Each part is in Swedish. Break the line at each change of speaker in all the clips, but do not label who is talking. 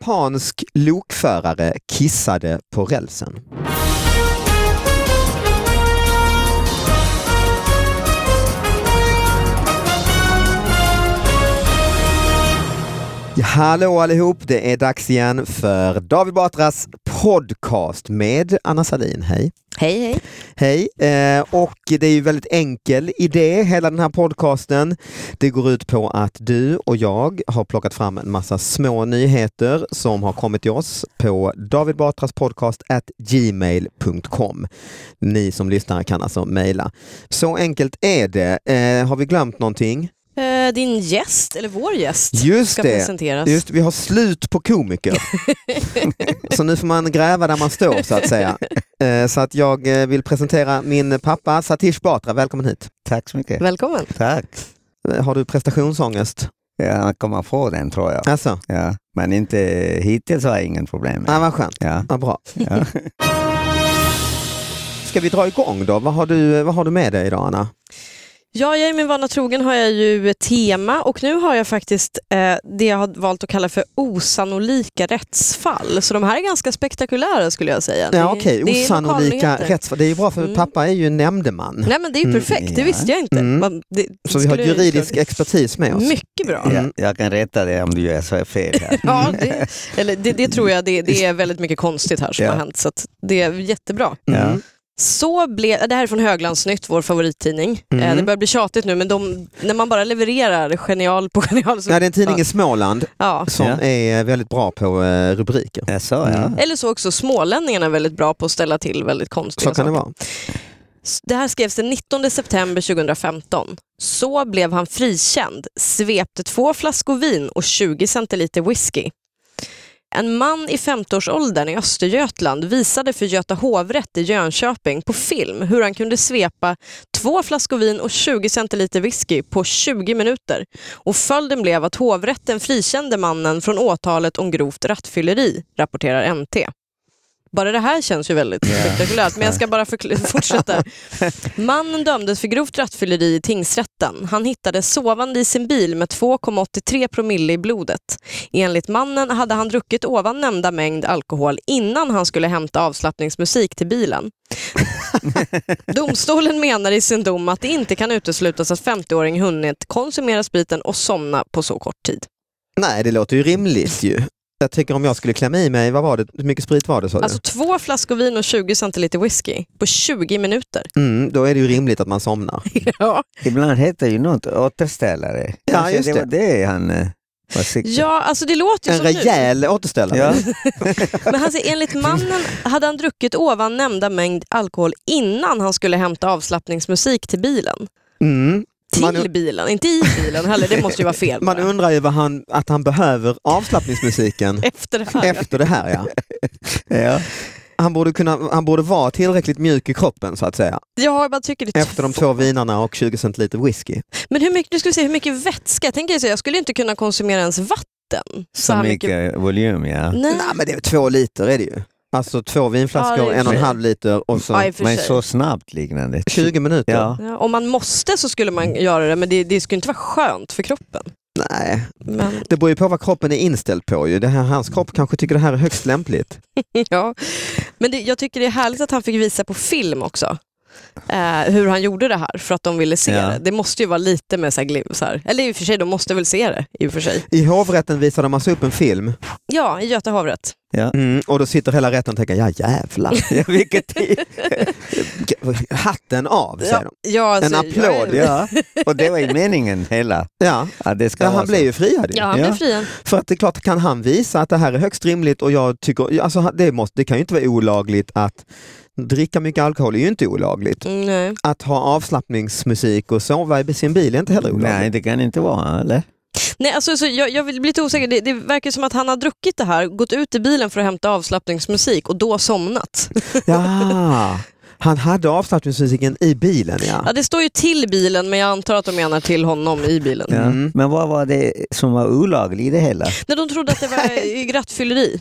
Japansk lokförare kissade på rälsen. Hallå allihop, det är dags igen för David Batras podcast med Anna Salin. Hej!
Hej hej.
Hej! Eh, och det är ju väldigt enkel idé, hela den här podcasten. Det går ut på att du och jag har plockat fram en massa små nyheter som har kommit till oss på David Batras podcast at gmail.com. Ni som lyssnar kan alltså mejla. Så enkelt är det. Eh, har vi glömt någonting?
Eh, din gäst, eller vår gäst,
Just
ska
det.
presenteras.
Just, vi har slut på komiker. så nu får man gräva där man står så att säga. Eh, Så att jag eh, vill presentera min pappa Satish Batra, välkommen hit.
Tack så mycket.
Välkommen.
Tack.
Eh, Har du prestationsångest?
Ja, man kommer få den tror jag.
Alltså,
Ja. Men inte, hittills har jag ingen problem med
ah,
det.
vad skönt,
Ja.
vad bra.
Ja.
Ska vi dra igång då? Vad har du, eh, vad har du med dig idag Anna?
Ja, jag är min vana trogen har jag ju ett tema och nu har jag faktiskt eh, det jag har valt att kalla för osannolika rättsfall. Så de här är ganska spektakulära skulle jag säga.
Ja,
Det-
Okej,
det är
osannolika
lokalnyheter.
rättsfall. Det är ju bra för
Mm.
pappa är ju nämndeman.
Nej men det är ju
Mm,
perfekt, det
ja.
visste jag inte.
Mm.
Man, det,
Så vi har
skulle jag ju
juridisk expertis med
tro.
oss.
Mycket bra.
Mm.
Jag, jag kan rätta dig om du gör så fel här.
Ja, det, eller det, det tror jag, det, det är väldigt mycket konstigt här som
Ja.
har hänt så att det är jättebra.
Ja.
Mm.
Så blev, det här är från Höglandsnytt, vår favorittidning.
Mm.
Eh, Det börjar bli tjatigt nu men de, när man bara levererar genial på genial så...
Ja, det är en tidning i Småland
Ja.
som
Ja.
är väldigt bra på eh, rubriker.
Jag sa ja.
Mm.
Eller så också smålänningarna är väldigt bra på att ställa till väldigt
Så
konstiga
kan det
saker.
vara.
S- Det här skrevs den 19 september 2015. Så blev han frikänd, svepte två flaskor vin och 20 centiliter whisky. En man i 50-årsåldern i Östergötland visade för Göta hovrätt i Jönköping på film hur han kunde svepa två flaskor vin och 20 centiliter whisky på 20 minuter. Och följden blev att hovrätten frikände mannen från åtalet om grovt rattfylleri, rapporterar NT. Bara det här känns ju väldigt spektakulärt, men jag ska bara förkl- fortsätta. Mannen dömdes för grovt rattfylleri i tingsrätten. Han hittades sovande i sin bil med 2,83 promille i blodet. Enligt mannen hade han druckit ovan nämnda mängd alkohol innan han skulle hämta avslappningsmusik till bilen. Domstolen menar i sin dom att det inte kan uteslutas att 50-åringen hunnit konsumera spriten och somna på så kort tid.
Nej, det låter ju rimligt ju. Jag tänker om jag skulle klämma i mig, vad var det, hur mycket sprit var det sa du?
Alltså två flaskor vin och 20 centiliter whisky på 20 minuter.
Mm, då är det ju rimligt att man somnar.
Ja.
Ibland heter ju något återställare.
Ja,
Kanske
just
det var det han eh, var siktig
ja, alltså det låter ju
En
som nu.
rejäl återställare.
Ja.
Men han säger, enligt mannen hade han druckit ovan nämnda mängd alkohol innan han skulle hämta avslappningsmusik till bilen.
Mm.
Till
Man-
bilen, inte i bilen heller. Det måste ju vara fel.
Man
bara.
undrar ju vad han, att han behöver avslappningsmusiken
Efter det här.
efter det här. Ja.
Ja.
Han, borde kunna, han borde vara tillräckligt mjuk i kroppen så att säga.
Ja, jag bara tycker det är
Efter de två vinerna och 20 centiliter whisky.
Men hur mycket, du skulle säga, hur mycket vätska? Jag tänker så, jag skulle inte kunna konsumera ens vatten.
Så mycket volym ja.
Nej.
Nej men det är två liter är det ju. Alltså två vinflaskor,
Ja, det är
en och en
för-
halv liter och
Ja, i
så
och för
Men
sig.
så snabbt liknande.
20 minuter.
Ja.
Ja, om man måste så skulle man göra det, men det, det skulle inte vara skönt för kroppen.
Nej,
Men,
det beror ju på vad kroppen är inställd på ju. Det här, hans kropp kanske tycker det här är högst lämpligt.
ja. men det, jag tycker det är härligt att han fick visa på film också. Eh, hur han gjorde det här för att de ville se
Ja.
det. Det måste ju vara lite med så här, glim- så här. Eller i och för sig, de måste väl se det. I och för sig.
I hovrätten visar de alltså upp en film
Ja, i Göta hovrätt.
Mm, och då sitter hela rätten och tänker, ja jävlar.
Ja, vilket tid.
Hatten av, säger de.
Ja, alltså,
En applåd,
Ja,
Ja. Och det var ju meningen hela.
Ja,
Ja, det ska
ja
vara
han
så.
blev ju friad. ju.
ja, han blev
Ja.
friad.
För att det är klart, kan han visa att det här är högst rimligt och jag tycker, alltså han- det, måste, det kan ju inte vara olagligt att dricka mycket alkohol är ju inte olagligt.
Mm, nej.
Att ha avslappningsmusik och sova i sin bil är inte heller olagligt.
Nej, det kan inte vara, eller?
Nej, alltså, så jag, jag blir lite osäker. Det, det verkar som att han har druckit det här, gått ut i bilen för att hämta avslappningsmusik och då somnat.
Ja, han hade avslappningsmusiken i bilen ja.
Ja, det står ju till bilen, men jag antar att de menar till honom i bilen.
Ja.
Mm.
Men vad var det som var olagligt i det hela?
Nej, de trodde att det var rattfylleri.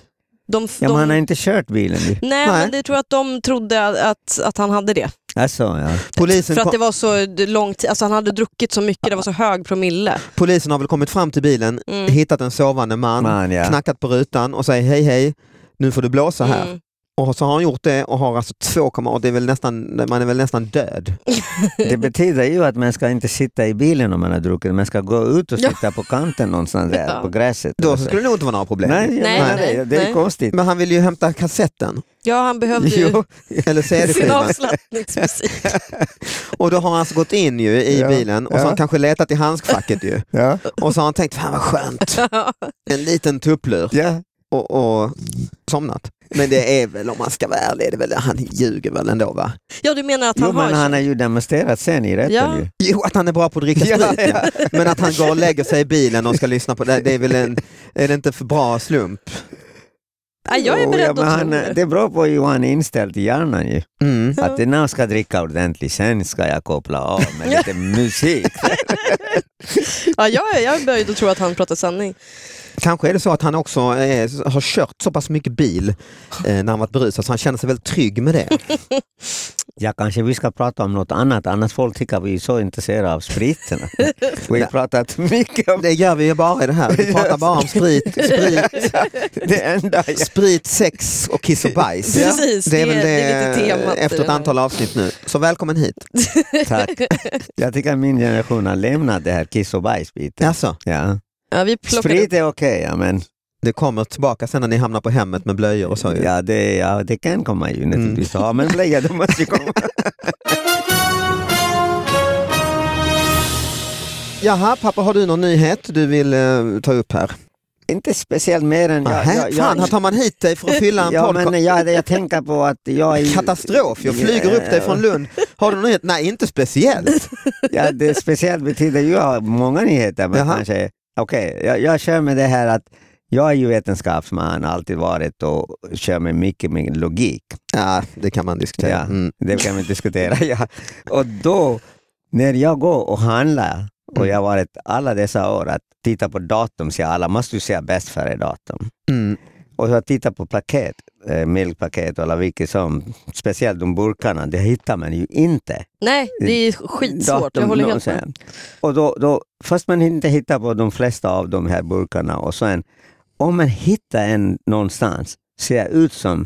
De,
Ja,
de,
men han har
nej,
inte kört bilen ju.
nej,
Nej.
men det tror jag att de trodde att, att han hade det.
Alltså, ja.
Polisen,
För att
kom-
det var så d- lång tid, alltså han hade druckit så mycket, det var så hög promille.
polisen har väl kommit fram till bilen,
Mm.
hittat en sovande man,
Man, ja.
knackat på rutan och säger hej hej, nu får du blåsa här.
Mm.
Och så har han gjort det och har alltså 2,8, det är väl nästan, man är väl nästan död.
Det betyder ju att man ska inte sitta i bilen om man har druckit, man ska gå ut och sitta på kanten någonstans där,
Ja.
på gräset.
Då
Alltså.
skulle det nog inte vara några problem.
Nej, jag
Nej,
menar
nej,
det, det är
nej.
konstigt.
Men han ville ju hämta kassetten,
Ja, han behövde ju
Jo,
eller
sin
CD-skivan.
avslappningsmusik.
Och då har han alltså gått in ju i
Ja,
bilen och så har han
ja.
kanske letat i handskfacket ju.
ja,
Och så har han tänkt, fan vad skönt,
Ja.
en liten tupplur
ja.
och, och somnat. Men det är väl, om man ska vara ärlig, det är väl, han ljuger väl ändå va?
ja, du menar att
Jo,
han har...
men han har ju demonstrerat sen i rätten.
Ja.
Ju.
Jo, att han är bra på att dricka
Ja,
sprit, ja. men att han går och lägger sig i bilen och ska lyssna på det, det är väl en, är det inte för bra slump?
Ja, jag är
Jo,
beredd
ja,
att
men
tro
han,
det.
Det beror på hur han är inställd i hjärnan ju.
Mm.
Att när jag ska dricka ordentligt, sen ska jag koppla av med lite musik.
Ja, jag, är, jag är böjd att tro att han pratar sanning.
Kanske är det så att han också eh, har kört så pass mycket bil eh, när han varit berusad så han känner sig väldigt trygg med det.
Ja, kanske vi ska prata om något annat, annars folk tycker vi är så intresserade av spriten. Vi har pratat mycket om
Det gör vi ju bara i det här, vi pratar bara om sprit, sprit,
det enda. jag-
sprit sex och kiss och bajs.
Precis,
Det är väl det,
det är lite temat i
efter ett
den här.
antal avsnitt nu. Så välkommen hit.
Tack. Jag tycker att min generation har lämnat det här kiss och bajsbiten.
Alltså,
Ja.
Ja, vi plockade
Sprit är okej, ja, men
det kommer tillbaka sen när ni hamnar på hemmet med blöjor och så. ju.
ja, det, ja, det kan komma ju
Mm.
naturligtvis. Ja, men blöja, det måste ju komma.
Jaha, pappa har du någon nyhet du vill eh, ta upp här?
Inte speciellt mer än...
Nähä, fan, här tar man hit dig för att fylla en
ja,
podcast.
men jag, jag tänker på att jag... är-
Katastrof, jag flyger upp dig från Lund. Har du någon nyhet? Nej, inte speciellt.
Ja, det speciellt betyder ju jag har många nyheter. Men
Jaha.
kanske, okay, jag, jag kör med det här att jag är ju vetenskapsman, alltid varit och kör med mycket med logik.
Ja, det kan man diskutera.
Ja,
Mm.
Det kan vi diskutera. Ja. Och då, när jag går och handlar, och jag har varit alla dessa år att titta på datum, säger alla, måste du säga bäst före datum.
Mm.
Och jag tittar på paket, eh, mjölkpaket eller vilket som, speciellt de burkarna, det hittar man ju inte.
Nej, det är skitsvårt. Jag
datum
håller helt
någonsin.
med.
Och då, då, först man inte hittar på de flesta av de här burkarna och sen om man hittar en någonstans, ser ut som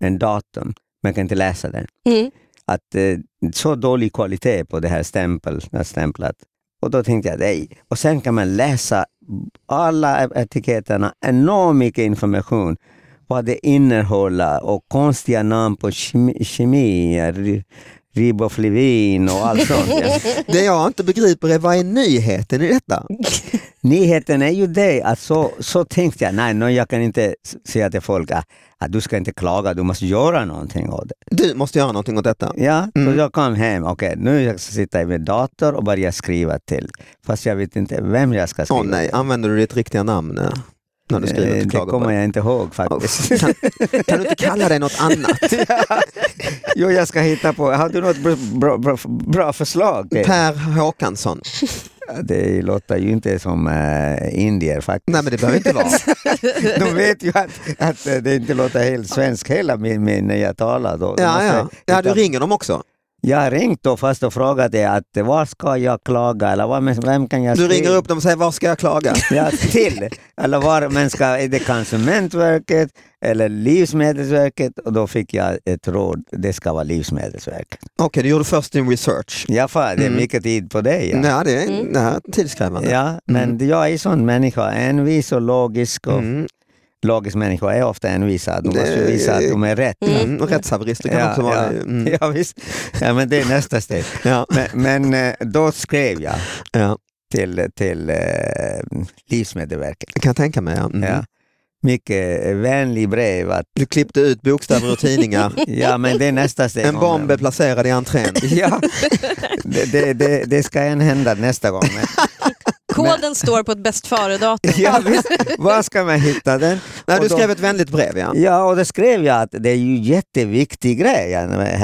en datum, man kan inte läsa den.
Mm.
Att eh, så dålig kvalitet på det här stämpel, det här stämplat. Och då tänkte jag, nej. Och sen kan man läsa alla etiketterna, enormt mycket information. Vad det innehåller och konstiga namn på kemi, kemi ri- riboflavin och allt sånt. ja.
Det jag inte begriper är vad är nyheten i detta?
Nyheten är ju det att så, så tänkte jag, nej, nej jag kan inte s- säga till folk att, att du ska inte klaga, du måste göra någonting åt det.
Du måste göra någonting åt detta.
Ja,
Mm.
så jag kom hem, okej nu jag ska sitta i min dator och börja skriva till. Fast jag vet inte vem jag ska skriva
Åh nej, använder du ditt riktiga namn eh, när du
till.
skriver
Eh,
till
det kommer
klagomål?
jag inte ihåg faktiskt.
Uff, Kan, kan du inte kalla dig något annat?
jo, jag ska hitta på, har du något br- bra, bra, bra förslag? till-
Per Håkansson.
Det låter ju inte som äh, indier faktiskt.
Nej men det behöver inte vara.
De vet ju att, att eh, det inte låter helt svensk heller med, med, när jag talar. Då. De
Ja,
måste
ja. ja du
hitta-
ringer dem också.
Jag har ringt då först och frågat det att var ska jag klaga eller var, men vem kan jag
Du
skriva-
ringer upp dem och säger var ska jag klaga?
ja, till? Eller var man ska, är det Konsumentverket eller Livsmedelsverket? Och då fick jag ett råd, det ska vara Livsmedelsverket.
Okej, du gjorde först din research.
Ja, fan, det är
Mm.
mycket tid på det. Ja.
Ja, det är
Mm.
det här är tidskrävande.
Ja, men
Mm.
jag är en sån människa, envis och logisk. Och
Mm.
Logisk människa är ofta envisa, de måste ju
Det-
visa att de är rätt.
Mm. och Rättshaverister kan
Ja,
också vara
ja.
det. Mm.
Ja, visst. ja, men det är nästa steg.
Ja.
Men, men eh, då skrev jag
Ja.
till, till eh, Livsmedelsverket.
Det kan jag tänka mig. Ja. Mm.
Ja. Mycket vänlig brev. Att,
Du klippte ut bokstäver ur tidningar.
ja, men det är nästa steg.
En bomb är placerad i entrén.
Ja, det, det, det, det ska än hända nästa gång. Men,
Koden står på ett bäst före-datum.
ja, visst, var ska man hitta den?
Nej,
Och
du
då-
skrev ett vänligt brev ja.
Ja, och det skrev jag att det är ju jätteviktig grej ja, med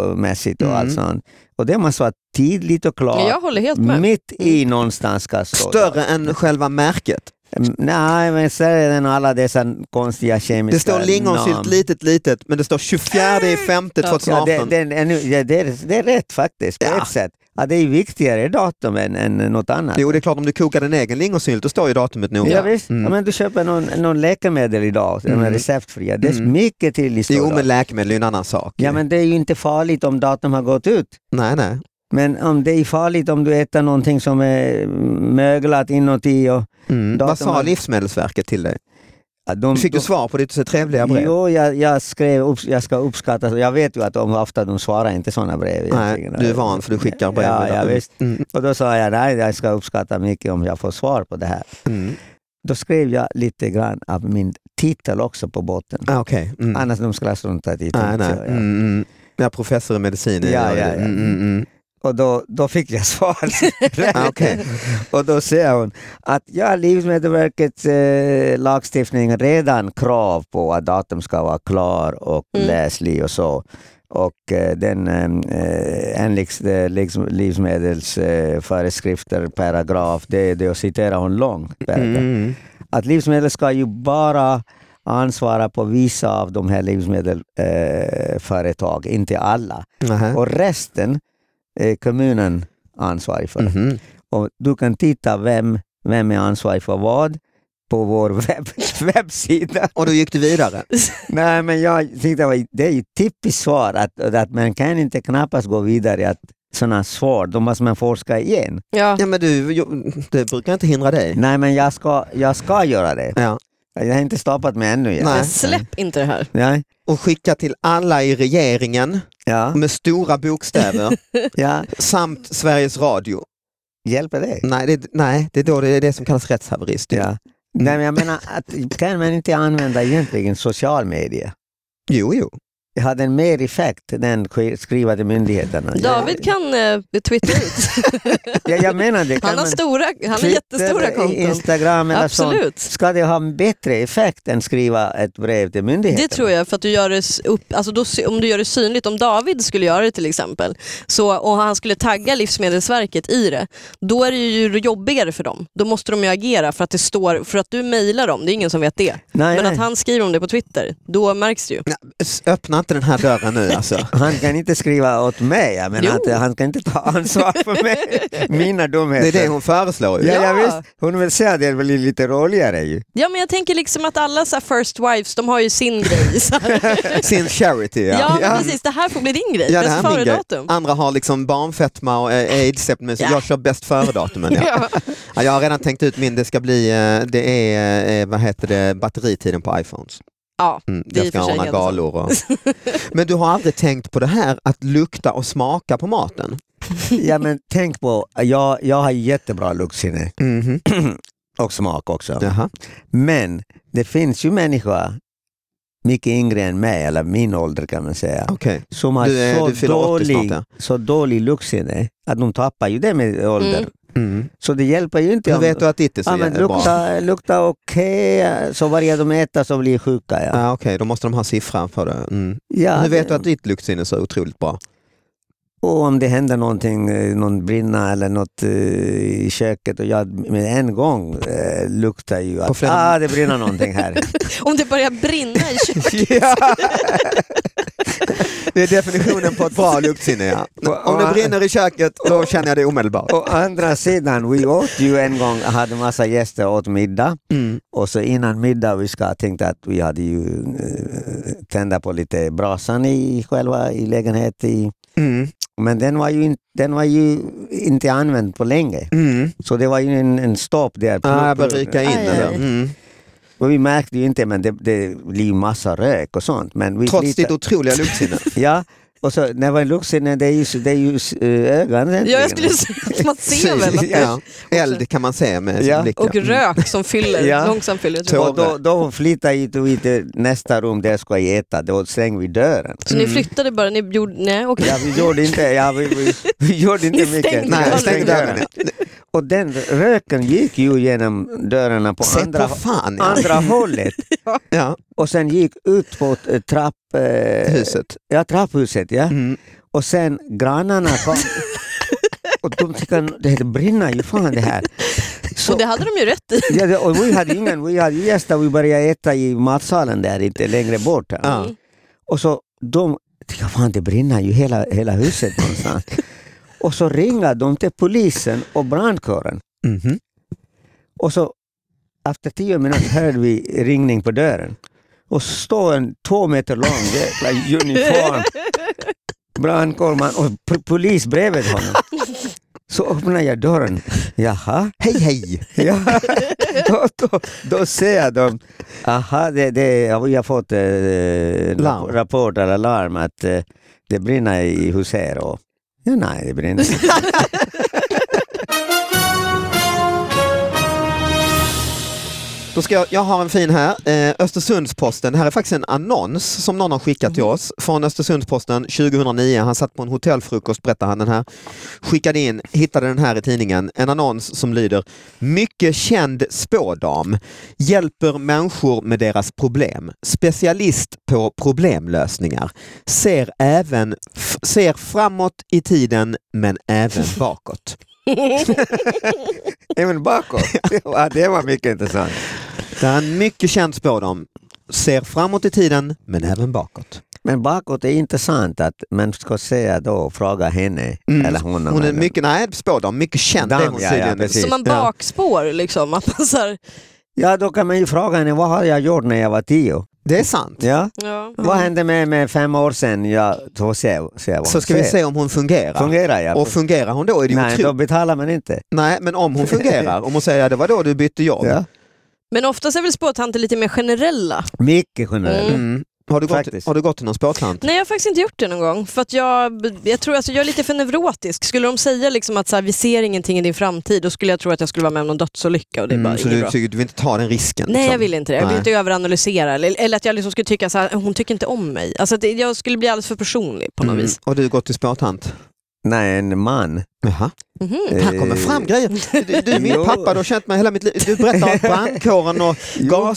hälsomässigt och
Mm.
allt sånt. Och det måste vara tydligt och klart.
Jag håller helt med.
Mm.
Mitt i någonstans ska stå.
Större än själva märket.
Mm, Nej, men Sverige den och alla dessa konstiga kemiska
Det står lingonsylt
namn.
litet litet men det står 24 i femte
Ja, det,
2018.
den är nu, ja, det, är, det är rätt faktiskt, på
Ja.
ett sätt. Ja, det är viktigare datum än, än något annat.
Jo det är klart om du kokar din egen lingonsylt då står ju datumet noga.
Ja, visst.
Mm.
Ja, men du köper någon, någon läkemedel idag, de är
Mm.
receptfria. Det är
Mm.
mycket till i
Jo
stora.
men läkemedel är ju en annan sak.
Ja, men det är ju inte farligt om datum har gått ut.
Nej nej.
Men om det är farligt om du äter någonting som är möglat inuti och...
Mm. Vad
Datum
sa
har-
Livsmedelsverket till dig?
Ja, de,
Fick du
de-
svar på ditt så trevliga brev?
Jo, jag, jag skrev upp, jag ska uppskatta, jag vet ju att de ofta de svarar inte sådana brev.
nej,
egentligen.
du är van för du skickar brev.
Ja, ja,
Mm.
visst.
Mm.
Och då sa jag nej, jag ska uppskatta mycket om jag får svar på det här.
Mm.
Då skrev jag lite grann av min titel också på botten.
Ah, Okej. Mm.
Annars de skulle ha struntat i
Nej,
titeln.
nej.
så jag.
Mm, mm. Ja, professor i medicin. är
Ja,
jag
ja,
det.
ja.
Mm, mm, mm.
Och då, då fick jag svar.
Ah, Okej.
och då säger hon att ja, Livsmedelsverkets eh, lagstiftning redan krav på att datum ska vara klar och
Mm.
läslig och så. Och eh, den eh, enligt eh, liksom, livsmedelsföreskrifter eh, föreskrifter, paragraf, det, det citerar hon långt.
Mm, mm.
Att livsmedel ska ju bara ansvara på vissa av de här livsmedelsföretag, eh, företag, inte alla.
Nähä.
Och resten är kommunen ansvarig för.
Mhm.
Och du kan titta vem, vem är ansvarig för vad på vår webb, webbsida.
Och då gick du vidare?
Nej, men jag tänkte att det är ju typiskt svar att, att man kan inte knappast gå vidare i att sådana svar, då måste man forska igen.
Ja.
Ja, men du, jo, det brukar inte hindra dig.
Nej, men jag ska, jag ska göra det.
Ja.
Jag har inte stoppat mig ännu. igen.
Nej.
Men släpp inte det här.
Nej.
Och skicka till alla i regeringen
Ja,
med stora bokstäver
ja.
samt Sveriges Radio.
Hjälper det?
Nej, det, nej, det är då det är det som kallas rättshaverist. ju.
Ja. Nej, men jag menar, att, kan man inte använda egentligen social media?
Jo, jo.
Har den mer effekt än sk- skriva till myndigheterna?
David kan eh, twittra ut.
Jag, jag menar det. Kan
Han har,
man
stora, han har
Twitter,
jättestora konton.
Instagram eller
alltså,
sånt.
Absolut.
Ska det ha en bättre effekt än skriva ett brev till myndigheterna?
Det tror jag, för att du gör det s- upp, alltså då, sy- om du gör det synligt, om David skulle göra det till exempel så, och han skulle tagga Livsmedelsverket i det, då är det ju jobbigare för dem. Då måste de ju agera för att, det står, för att du mejlar dem, det är ingen som vet det.
Nej,
Men
nej.
att han skriver om det på Twitter, då märks det ju.
S- Öppna inte den här dörren nu alltså.
Han kan inte skriva åt mig, jag menar
Jo.
att han kan inte ta ansvar för mig. mina
Det
dumheter.
är det hon föreslår. Ju.
Ja, ja,
Ja.
visst. Hon vill säga att det blir lite roligare ju.
Ja men jag tänker liksom att alla så här first wives, de har ju sin grej. Så här.
Sin charity.
Ja,
Ja.
men precis, det här får bli din grej.
Ja, det
Bäst
här är min grej.
före-datum.
Andra har liksom barnfetma och eh, aids, men så
Ja.
jag kör bäst före-datumen. Ja.
Ja.
Ja, jag har redan tänkt ut min, det ska bli, eh, det är, eh, vad heter det, batteritiden på iPhones.
Ja,
Mm,
Det är
jag
i och
ska
för sig
ordna
helt sant.
galor. Och... Men du har aldrig tänkt på det här att lukta och smaka på maten?
Ja, men tänk på, jag, jag har jättebra luktsinne
Mhm.
och smak också.
Jaha.
Men det finns ju människor, mycket yngre än mig, eller min ålder kan man säga,
Okej.
som har
Du är-
så,
du fyller 80 snart,
dålig,
ja.
så dålig luktsinne att de tappar ju det med ålder.
Mm.
Mm.
Så det hjälper ju inte.
Hur
om-
vet du att ditt är så
ja, men
jävla bra?
lukta, lukta okej, så varje de äter så blir sjuka. Ja.
Ah, Okej, då måste de ha siffran för det. Mm.
Ja,
Hur vet
det-
du att ditt luktsinne är så otroligt bra?
Och om det händer någonting, eh, någon brinna eller något eh, i köket och jag med en gång eh, luktar ju
På
att
flera-
ah, det brinner någonting här.
Om det börjar brinna i köket.
ja.
Det är definitionen på ett bra luktsinne ja. Om det brinner i köket, då känner jag det omedelbart.
Å andra sidan, vi åt ju en gång, hade massa gäster åt middag
Mm.
och så innan middag vi ska tänkte att vi hade ju eh, tända på lite brasan i själva i lägenheten. I,
Mm.
Men den var, ju in, den var ju inte använd på länge.
Mm.
Så det var ju en, en stopp där.
Ah, jag börjar ryka in
Aj,
den där.
aj.
Mm.
Och vi märkte ju inte, men det, det blir ju massa rök och sånt. Men vi
Trots
lite-
ditt otroliga luktsinne.
Ja, och så när man luktsinne, det är ju, det är ju eh, ögon
Ja,
egentligen.
jag skulle säga att man ser väl. att-
ja. Eld kan man se med
Ja.
sin blick. Mm.
Och rök som fyller,
Ja.
långsamt fyller.
Så-
Och då, då flyttade vi till- vi till nästa rum där jag ska äta, då slängde vi dörren.
Så
Mm.
ni flyttade bara, ni gjorde, nej okej.
Ja, vi gjorde inte, ja, vi, vi, vi gjorde inte
Ni
mycket.
stängde
Nej,
dörren.
stäng dörren. ja.
Och den röken gick ju genom dörrarna på
Se
andra,
på fan ja.
andra hållet
ja.
och sen gick ut på eh, trapp, eh,
Huset.
Ja, trapphuset. Ja.
Mm.
Och sen grannarna kom. Och de tyckte det brinner ju fan det här. Så-
Och det hade de ju rätt i.
Ja, det- och vi hade ingen, vi hade gäster, vi började äta i matsalen där, inte längre bort.
Ja.
Mm.
Och så de, tycker, fan det brinner ju hela, hela huset någonstans. och så ringer de till polisen och brandkåren.
Mhm.
Och så efter tio minuter hörde vi ringning på dörren. Och så står en två meter lång jäkla uniform brandkårman och p- polis bredvid honom. Så öppnar jag dörren. Jaha.
Hej hej!
Ja. då, då, då ser jag dem. Aha, det, det, vi har fått eh,
Larm.
rapport eller larm att eh, det brinner i huset. Och, ja, nej, det brinner inte.
Då ska jag, jag har en fin här, eh, Östersundsposten. Här är faktiskt en annons som någon har skickat till oss från Östersundsposten 2009. Han satt på en hotellfrukost, berättar han den här. Skickade in, hittade den här i tidningen. En annons som lyder Mycket känd spådam. Hjälper människor med deras problem. Specialist på problemlösningar. Ser, även, f- ser framåt i tiden men även bakåt.
Även bakåt. Ja, det var mycket intressant.
Det är en mycket känd spådam. Ser framåt i tiden men även bakåt.
Men bakåt är intressant att man ska säga då, fråga henne
Mm.
eller honom.
Hon är
eller-
mycket, nej spådam, mycket känd
Dam,
är hon
ja, ja,
tydligen.
precis.
Som man bakspår liksom. Att man så här,
Ja, då kan man ju fråga henne, vad har jag gjort när jag var tio?
Det är sant.
Ja.
ja.
Vad hände med mig fem år sedan? Ja, då ser, jag- ser jag
Mm.
vad
Så
hon
ska vi
säger.
se om hon fungerar.
Fungerar jag?
Och fungerar hon då är det ju
Nej,
otro-
då betalar man inte.
nej, men om hon fungerar, om hon säger att det var då du bytte jobb.
Ja.
Men oftast är väl spåtanter lite mer generella.
Mycket generellt.
Mm.
Mm. Har, du gått,
Faktiskt.
har du gått till någon spåtant?
Nej, jag har faktiskt inte gjort det någon gång. För att jag, jag tror alltså, jag är lite för neurotisk. Skulle de säga liksom att så här, vi ser ingenting i din framtid, då skulle jag tro att jag skulle vara med om någon dödsolycka och det är bara
Mm, så
inget
du,
bra.
tycker- du vill inte ta den risken?
Nej,
liksom?
jag vill inte det. Jag vill
Nej.
inte överanalysera. Eller, eller att jag liksom skulle tycka så här, hon tycker inte om mig. Alltså, det, jag skulle bli alldeles för personlig på något
Mm.
vis.
Har du gått till spåtant?
Nej, en man. eh,
Jaha.
Mhm.
Här kommer fram grejer. Du, du är min
Jo.
pappa, du har känt mig hela mitt liv. Du berättar om brandkåren och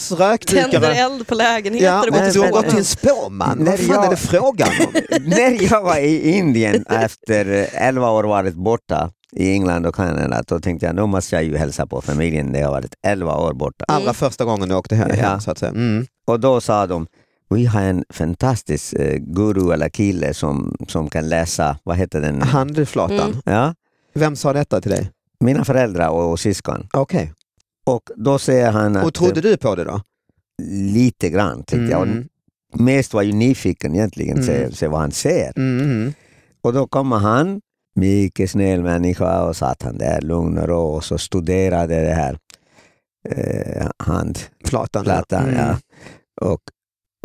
Tänder
gasrökdykare.
eld på lägenheter.
Ja,
och
men
går
du har
till
gått till en
spårvagn.
spåman. Vad
Nej,
fan är
jag-
det frågan om?
när jag var i Indien efter eh, 11 år varit borta i England och Kanada, då tänkte jag nu måste jag ju hälsa på familjen när jag varit 11 år borta.
Allra
Mm.
första gången du åkte hem,
Ja.
så att säga. Mm.
Och då sa de, vi har en fantastisk eh, guru eller kille som, som kan läsa, vad heter den?
Handflatan.
Mm.
Ja,
Vem sa detta till dig?
mina föräldrar och, och syskon.
Okej.
Och då säger han att... eh,
Och trodde du på det då?
Lite grann tyckte jag. Och
Mm,
mest var ju nyfiken egentligen,
Mm.
se, se vad han ser.
mm,
Mm-hmm.
mm.
Och då kommer han, mycket snäll människa, och satt han där lugn och ro och så studerade det här eh, handplattan.
Flatan. mm.
Ja. Och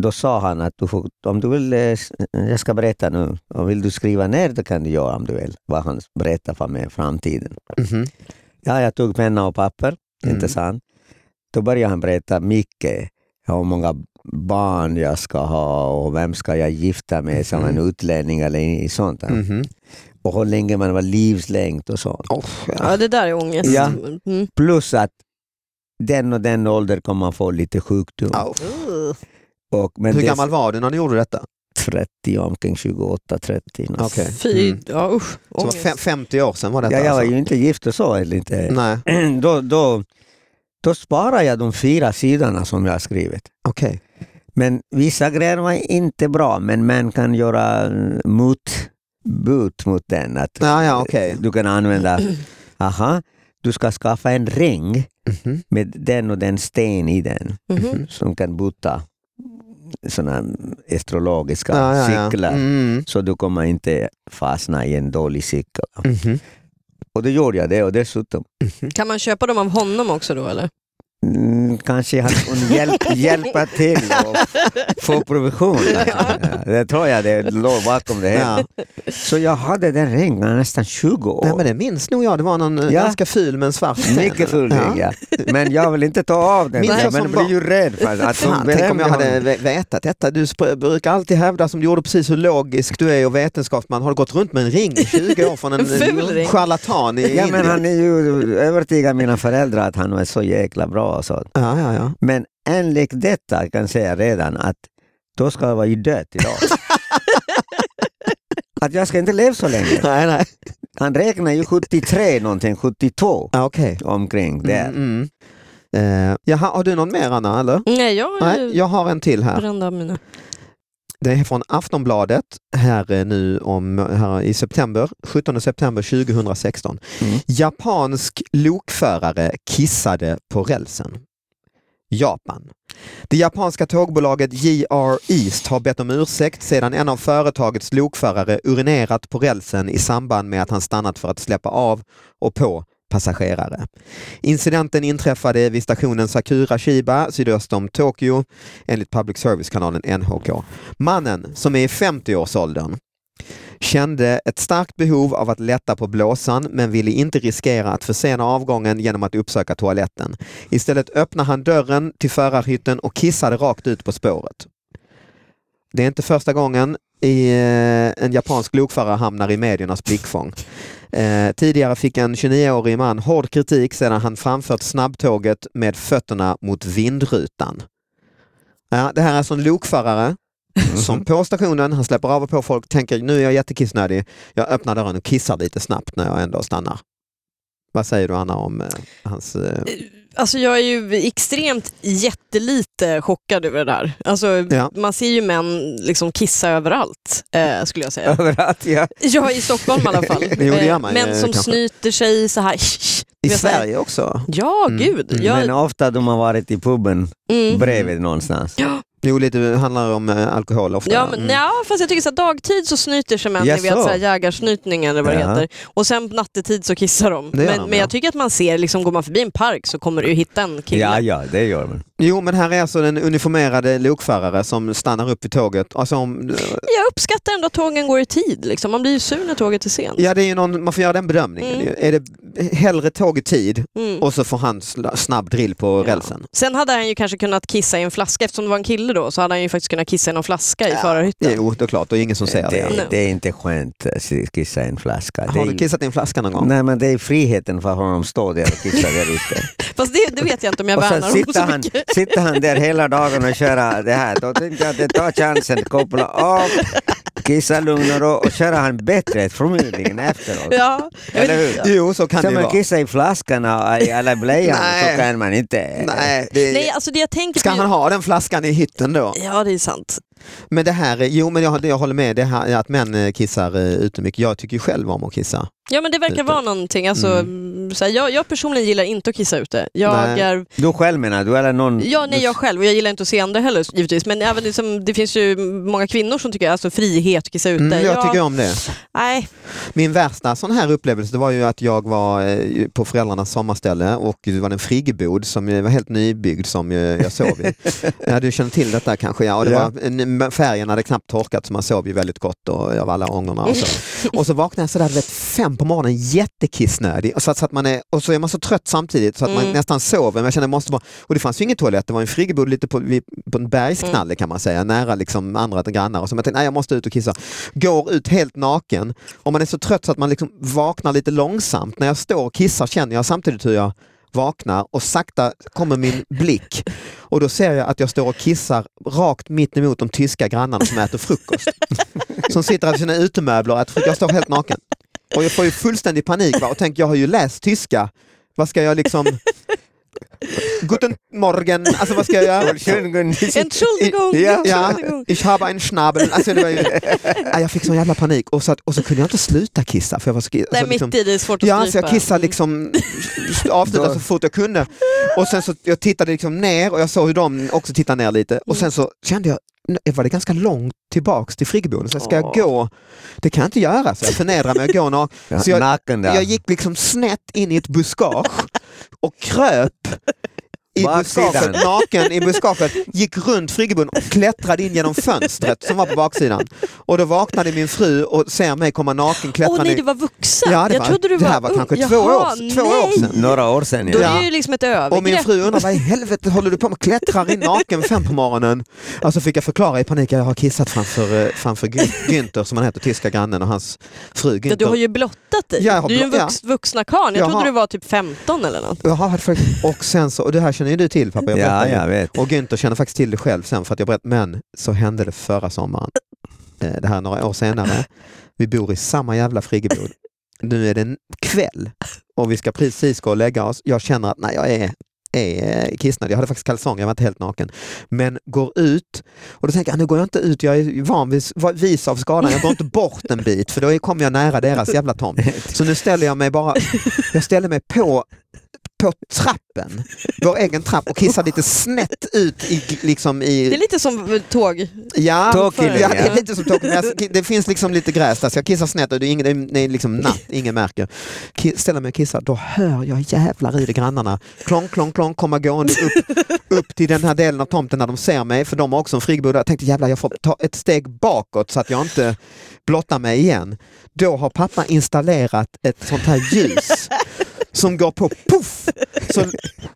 då sa han att du får, om du vill, eh, s- jag ska berätta nu, och vill du skriva ner det kan du göra om du vill, vad han berättar för mig i framtiden.
Mhm.
Mm-hmm. Ja, jag tog penna och papper,
Mm.
inte sant? Då började han berätta mycket, hur många barn jag ska ha och vem ska jag gifta mig som
Mm.
en utlänning eller i- sånt.
Mhm.
Och hur länge man var livslängd och sånt.
Oh, ja.
Ja, det där är ångest.
Ja.
Mm.
Plus att den och den ålder kommer man få lite sjukdom.
Au.
Och, men
Hur
det är
gammal var du när ni gjorde detta?
30, omkring 28-30.
Okej.
Fy,
Mm.
ja usch.
Så det var
Ångest.
fem, 50 år sedan var detta
Ja, jag var
alltså?
ju inte gift och så. Eller inte.
Nej,
Då, då, då sparar jag de fyra sidorna som jag har skrivit.
okej.
Men vissa grejer var inte bra, men man kan göra eh, mot, but mot den. Att
Ja, ja, okej.
Du kan använda, aha, du ska skaffa en ring
Mhm.
med den och den sten i den
Mm.
Mhm.
som kan bota sådana astrologiska
Ja, ja, ja.
cyklar.
Mm.
Så du kommer inte fastna i en dålig cykel.
Mhm.
Mm-hmm. Och då gjorde jag det och dessutom
Kan man köpa dem av honom också då eller?
mm, kanske jag kunde hjälp, hjälpa till och få provision. Ja, det tror jag det låg bakom det hela.
Ja.
Så jag hade den ringen nästan 20 år.
Nej, men det minns nog jag. Det var någon eh,
Ja.
ganska ful men svart sten.
Mycket full
Ja.
ring, ja. Men jag vill inte ta av den.
Minns
där,
jag som
men jag blir
barn.
ju rädd för att de
Fan, tänk om jag
berömde
hade
honom.
ve- vetat detta. Du sp- brukar alltid hävda som du gjorde precis hur logisk du är och vetenskapsman. Har du gått runt med en ring i 20 år från en,
En ful
eh,
ring.
charlatan i
Ja,
Indien?
men han är ju övertygad mina föräldrar att han var så jäkla bra. Och så.
Ja, ja, ja.
Men enligt detta kan jag säga redan att då ska jag vara ju död idag. att jag ska inte leva så länge.
Nej, nej.
Han räknar ju 73 någonting, 72
Ah, Okej.
omkring där.
Mm, mm. Eh, jaha, har du någon mer Anna? Eller?
Nej, jag har
Nej,
ju
jag har en till här.
varenda av mina.
Det är från Aftonbladet här eh, nu om, här i september, 17 september 2016.
Mm.
Japansk lokförare kissade på rälsen. Japan. Det japanska tågbolaget JR East har bett om ursäkt sedan en av företagets lokförare urinerat på rälsen i samband med att han stannat för att släppa av och på passagerare. Incidenten inträffade vid stationen Sakura-Shiba sydöst om Tokyo enligt public service-kanalen NHK. Mannen, som är i 50-årsåldern, kände ett starkt behov av att lätta på blåsan men ville inte riskera att försena avgången genom att uppsöka toaletten. Istället öppnade han dörren till förarhytten och kissade rakt ut på spåret. Det är inte första gången i, eh, en japansk lokförare hamnar i mediernas blickfång. Eh, tidigare fick en 29-årig man hård kritik sedan han framfört snabbtåget med fötterna mot vindrutan. Ja, det här är alltså en lokförare
Mhm.
som på stationen, han släpper av och på folk, tänker nu är jag jättekissnödig, jag öppnar dörren och kissar lite snabbt när jag ändå stannar. Vad säger du Anna om eh, hans... Eh,
Alltså jag är ju extremt jättelite chockad över det där. Alltså,
Ja.
Man ser ju män liksom kissa överallt, eh, skulle jag säga.
Överallt ja.
Ja, i Stockholm i alla fall. Eh,
Jo, det gör man ju,
män som
kanske.
snyter sig så här.
I
vet jag.
Sverige också?
Ja,
Mm,
gud.
mm,
Jag,
Men ofta de har varit i puben
mm.
bredvid någonstans.
Jo, lite det handlar om eh, alkohol ofta.
Ja, men,
Mm.
ja, fast jag tycker så här, dagtid så snyter sig män, ni
Jaså?
vet så här, jägarsnytning eller vad det
Ja.
heter. Och sen nattetid så kissar de.
Det gör
men
de,
men
ja.
jag tycker att man ser, liksom, går man förbi en park så kommer du ju hitta en kille.
Ja, ja, det gör man.
Jo, men här är alltså den uniformerade lokförare som stannar upp vid tåget. Alltså, om,
Jag uppskattar ändå att tågen går i tid. Liksom. Man blir ju sur när tåget är sent.
ja, det är ju någon, man får göra den bedömningen.
Mm.
Är det hellre tåg i tid
Mm.
och så får han sla- snabb drill på rälsen?
Sen hade han ju kanske kunnat kissa i en flaska, eftersom det var en kille då, så hade han ju faktiskt kunnat kissa i någon flaska i förarhytten.
Jo, det är klart, det är ingen
Eh,
som säger det.
Det,
Nej.
det är inte skönt att kissa i en flaska. Det
Har
är
du
ju-
kissat i en flaska någon gång?
Nej men det är friheten för honom att stå där och kissa där ute.
Fast det, det vet jag inte om jag
Och sen
värnar honom
sitter
så
han,
mycket.
sitter han där hela dagen och köra det här. Då tänkte jag att det tar chansen, koppla av, kissa lugn och ro och köra han bättre förmodligen efteråt.
Ja, jag
Eller
vet,
hur?
Jo, så kan det
Som
ju
att
vara.
kissa i flaskan och i alla blöjan
Nej.
så kan man inte.
Nej, det...
nej, alltså det jag Eh. tänker
Ska
på...
han ha den flaskan i hytten då?
Ja, det är sant.
Men det här, är- jo men jag, jag håller med, det här, att män eh, kissar eh, ute mycket. Jag tycker ju själv om att kissa.
Ja men det verkar
Lite. Mm.
vara någonting. Alltså, så här, jag, jag personligen gillar inte att kissa ute. Jag
Nej.
är,
Du själv menar du eller någon?
ja, nej, jag själv, och jag gillar inte att se andra heller givetvis. Men även liksom, det finns ju många kvinnor som tycker alltså, frihet att kissa ute.
Mm, jag tycker om det.
nej,
Min värsta sån här upplevelse det var ju att jag var eh, på föräldrarnas sommarställe och det var en friggebod som eh, var helt nybyggd som eh, jag sov i. ja, du känner till detta kanske? Ja, och det
Ja.
Var, en- färgen hade knappt torkat så man sov ju väldigt gott och av alla ångorna. Och så, och så vaknade jag sådär du vet, fem på morgonen jättekissnödig och så, att, så att man är, och så är man så trött samtidigt så att man
Mm.
nästan sover. Men jag kände jag måste vara, och det fanns ju ingen toalett, det var en friggebod lite på, vid- på en bergsknalle kan man säga, nära liksom andra grannar. Och så jag tänkte, nej jag måste ut och kissa. Går ut helt naken om man är så trött så att man liksom vaknar lite långsamt. När jag står och kissar känner jag samtidigt hur jag vaknar och sakta kommer min blick och då ser jag att jag står och kissar rakt mitt emot de tyska grannarna som äter frukost. Som sitter i sina utemöbler och äter frukost. Jag står helt naken. Och jag får ju fullständig panik va? och tänker jag har ju läst tyska. Vad ska jag liksom... Guten morgen, alltså vad ska jag göra?
en Entschuldigung.
Ja, ja,
Entschuldigung.
ich habe einen Schnabel. Alltså, det var ju, Ja, jag fick sån jävla panik och, så att, och så kunde jag inte sluta kissa. För jag var så, alltså,
Nej, mitt i Mm. det är svårt att
Ja, så
strypa.
jag kissade liksom, avslutade
Då-
så fort jag kunde. Och sen så jag tittade liksom ner och jag såg hur de också tittade ner lite. Och sen så kände jag, nu var det ganska långt tillbaks till friggeboden. Så ska jag
Åh.
gå? Det kan jag inte göra, så jag förnedrar mig att gå naken. Så jag-
Naken där.
Jag gick liksom snett in i ett buskage och kröp i
Baksidan.
buskaget, naken i buskaget, gick runt friggeboden och klättrade in genom fönstret som var på baksidan. Och då vaknade min fru och ser mig komma naken
Åh
klättrande.
nej,
in-
du var vuxen.
Ja, det
jag
var-
trodde du
det
var
här var
ung.
kanske två
Jaha,
år- två år
nej.
sedan.
Några år sedan
Då
ja.
är
Ja.
det ju liksom ett
Och min
övergrepp.
fru undrar vad i helvete håller du på med? Klättrar in naken fem på morgonen. Alltså fick jag förklara i panik att jag har kissat framför, eh, framför Gü- Günther som han heter, tyska grannen och hans fru
Ja, du har
Günther.
ju blottat dig.
Ja, jag har
du är ju en
blott-
vux, vuxna karl. Jag
Jaha.
trodde du var typ 15 eller något.
Jaha, hade faktiskt- Och sen så, och det här känner ju du till pappa, jag
Ja,
berättade ju.
jag vet.
Och Günther känner faktiskt till det själv sen för att jag berättade, men så hände det förra sommaren. Eh, Det här är några år senare. Vi bor i samma jävla friggebod. nu är det en kväll och vi ska precis gå och lägga oss. Jag känner att nej, jag är, är kissnödig. Jag hade faktiskt kalsonger, jag var inte helt naken. Men går ut och då tänker jag, nu går jag inte ut, jag är van vid, vis av skadan. Jag går inte bort en bit för då kommer jag nära deras jävla tomt. Så nu ställer jag mig bara, jag ställer mig på på trappen, vår egen trapp och kissar lite snett ut i, liksom
Det är
i...
lite som eh, tåg.
Ja,
Tågkille,
ja, det är
ja.
lite som tåg, men jag, det finns liksom lite gräs där så jag kissar snett och det är, ingen, det är- det är liksom natt, ingen märker. Ki- Ställer mig och kissar, då hör jag jävlar i det grannarna. Klong, klong, klong, komma gående upp, upp till den här delen av tomten när de ser mig, för de har också en friggebod. Jag tänkte jävlar jag får ta ett steg bakåt så att jag inte blottar mig igen. Då har pappa installerat ett sånt här ljus som går på poff! Så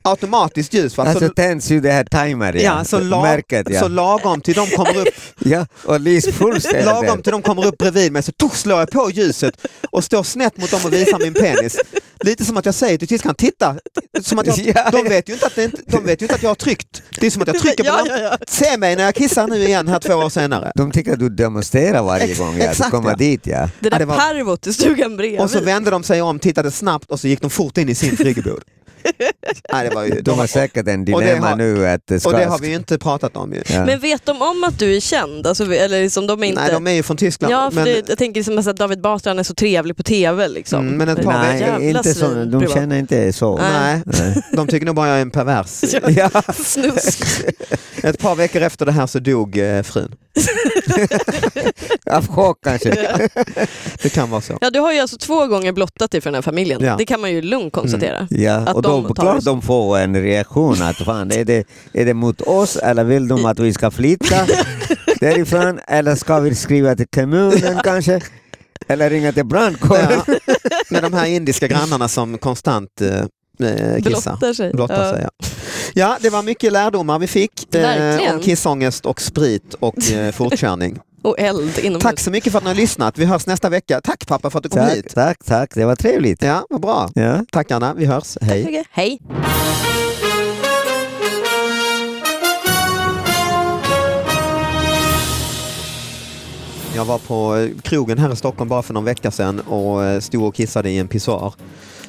automatiskt ljus. Va? Så,
Alltså tänds ju det här timern,
ja, så, lag,
märket. Ja.
så lagom till de kommer upp
ja, och Lis fullständigt.
Lagom till de kommer upp bredvid mig så tuff slår jag på ljuset och står snett mot dem och visar min penis. Lite som att jag säger till tyskan, titta! Som att jag,
Ja,
de,
ja.
vet ju inte att det, inte- de vet ju inte att jag har tryckt. Det är som att jag trycker på
Ja,
lamp-
ja, ja.
Se mig när jag kissar nu igen här två år senare.
De tycker att du demonstrerar varje
Ex-
gång ja,
exakt,
du kommer
ja.
dit. Ja.
Det
Ja,
där
det var-
pervot i stugan bredvid.
Och så vände de sig om, tittade snabbt och så gick de fort in i sin friggebod. Nej, det var ju,
De har säkert en
och det
dilemma
har-
nu. Att det ska,
och det har vi ju inte pratat om ju.
ja.
Men vet de om att du är känd? Alltså, vi- eller liksom, de är inte...
Nej, de är ju från Tyskland.
Ja, för
men,
det, jag tänker liksom att David Batra han är så trevlig på TV. Liksom.
Mm, men ett par
Jävla
Nej, inte så,
svin,
de
privat.
känner inte så.
nej, de tycker nog bara jag är en pervers.
Ja.
Snusk.
Ett par veckor efter det här så dog eh, frun.
Av chock kanske.
Det kan vara så.
Ja, du har ju alltså två gånger blottat dig för den här familjen.
Ja. Mm,
Det kan man ju lugnt konstatera.
Ja,
Att
och
de
då
tar
klart
oss.
de får en reaktion. Att fan, är, det, är det mot oss eller vill de att vi ska flytta därifrån? Eller ska vi skriva till kommunen kanske? Eller ringa till brandkåren?
Ja. Med de här indiska grannarna som konstant eh, eh, kissar.
Blottar sig.
Blottar sig, ja. ja, det var mycket lärdomar vi fick eh,
Verkligen.
om kissångest och sprit och eh, fortkörning.
Och eld inomhus.
Tack så mycket för att ni har lyssnat. Vi hörs nästa vecka. Tack pappa för att du kom
Tack,
hit.
tack, tack. Det var trevligt.
Ja, vad bra.
Ja.
Tack Anna, vi hörs. Hej.
mycket. Hej.
Jag var på eh, krogen här i Stockholm bara för någon vecka sedan och eh, stod och kissade i en pissoar.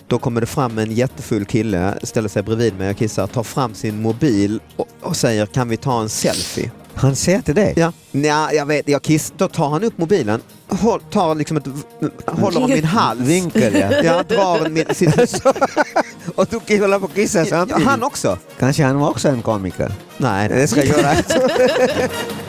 Då kommer det fram en jättefull kille, ställer sig bredvid mig och kissar, tar fram sin mobil och, och säger kan vi ta en selfie?
Han säger till dig?
Ja, Nja, jag vet, jag kiss. Då tar han upp mobilen, håll, tar liksom ett, v- håller om min hals.
Vinkel ja.
Ja, drar min, sin,
Och du håller på att kissa
ja,
samtidigt.
han också.
Kanske han var också en komiker.
Nej, nej.
Det ska jag göra.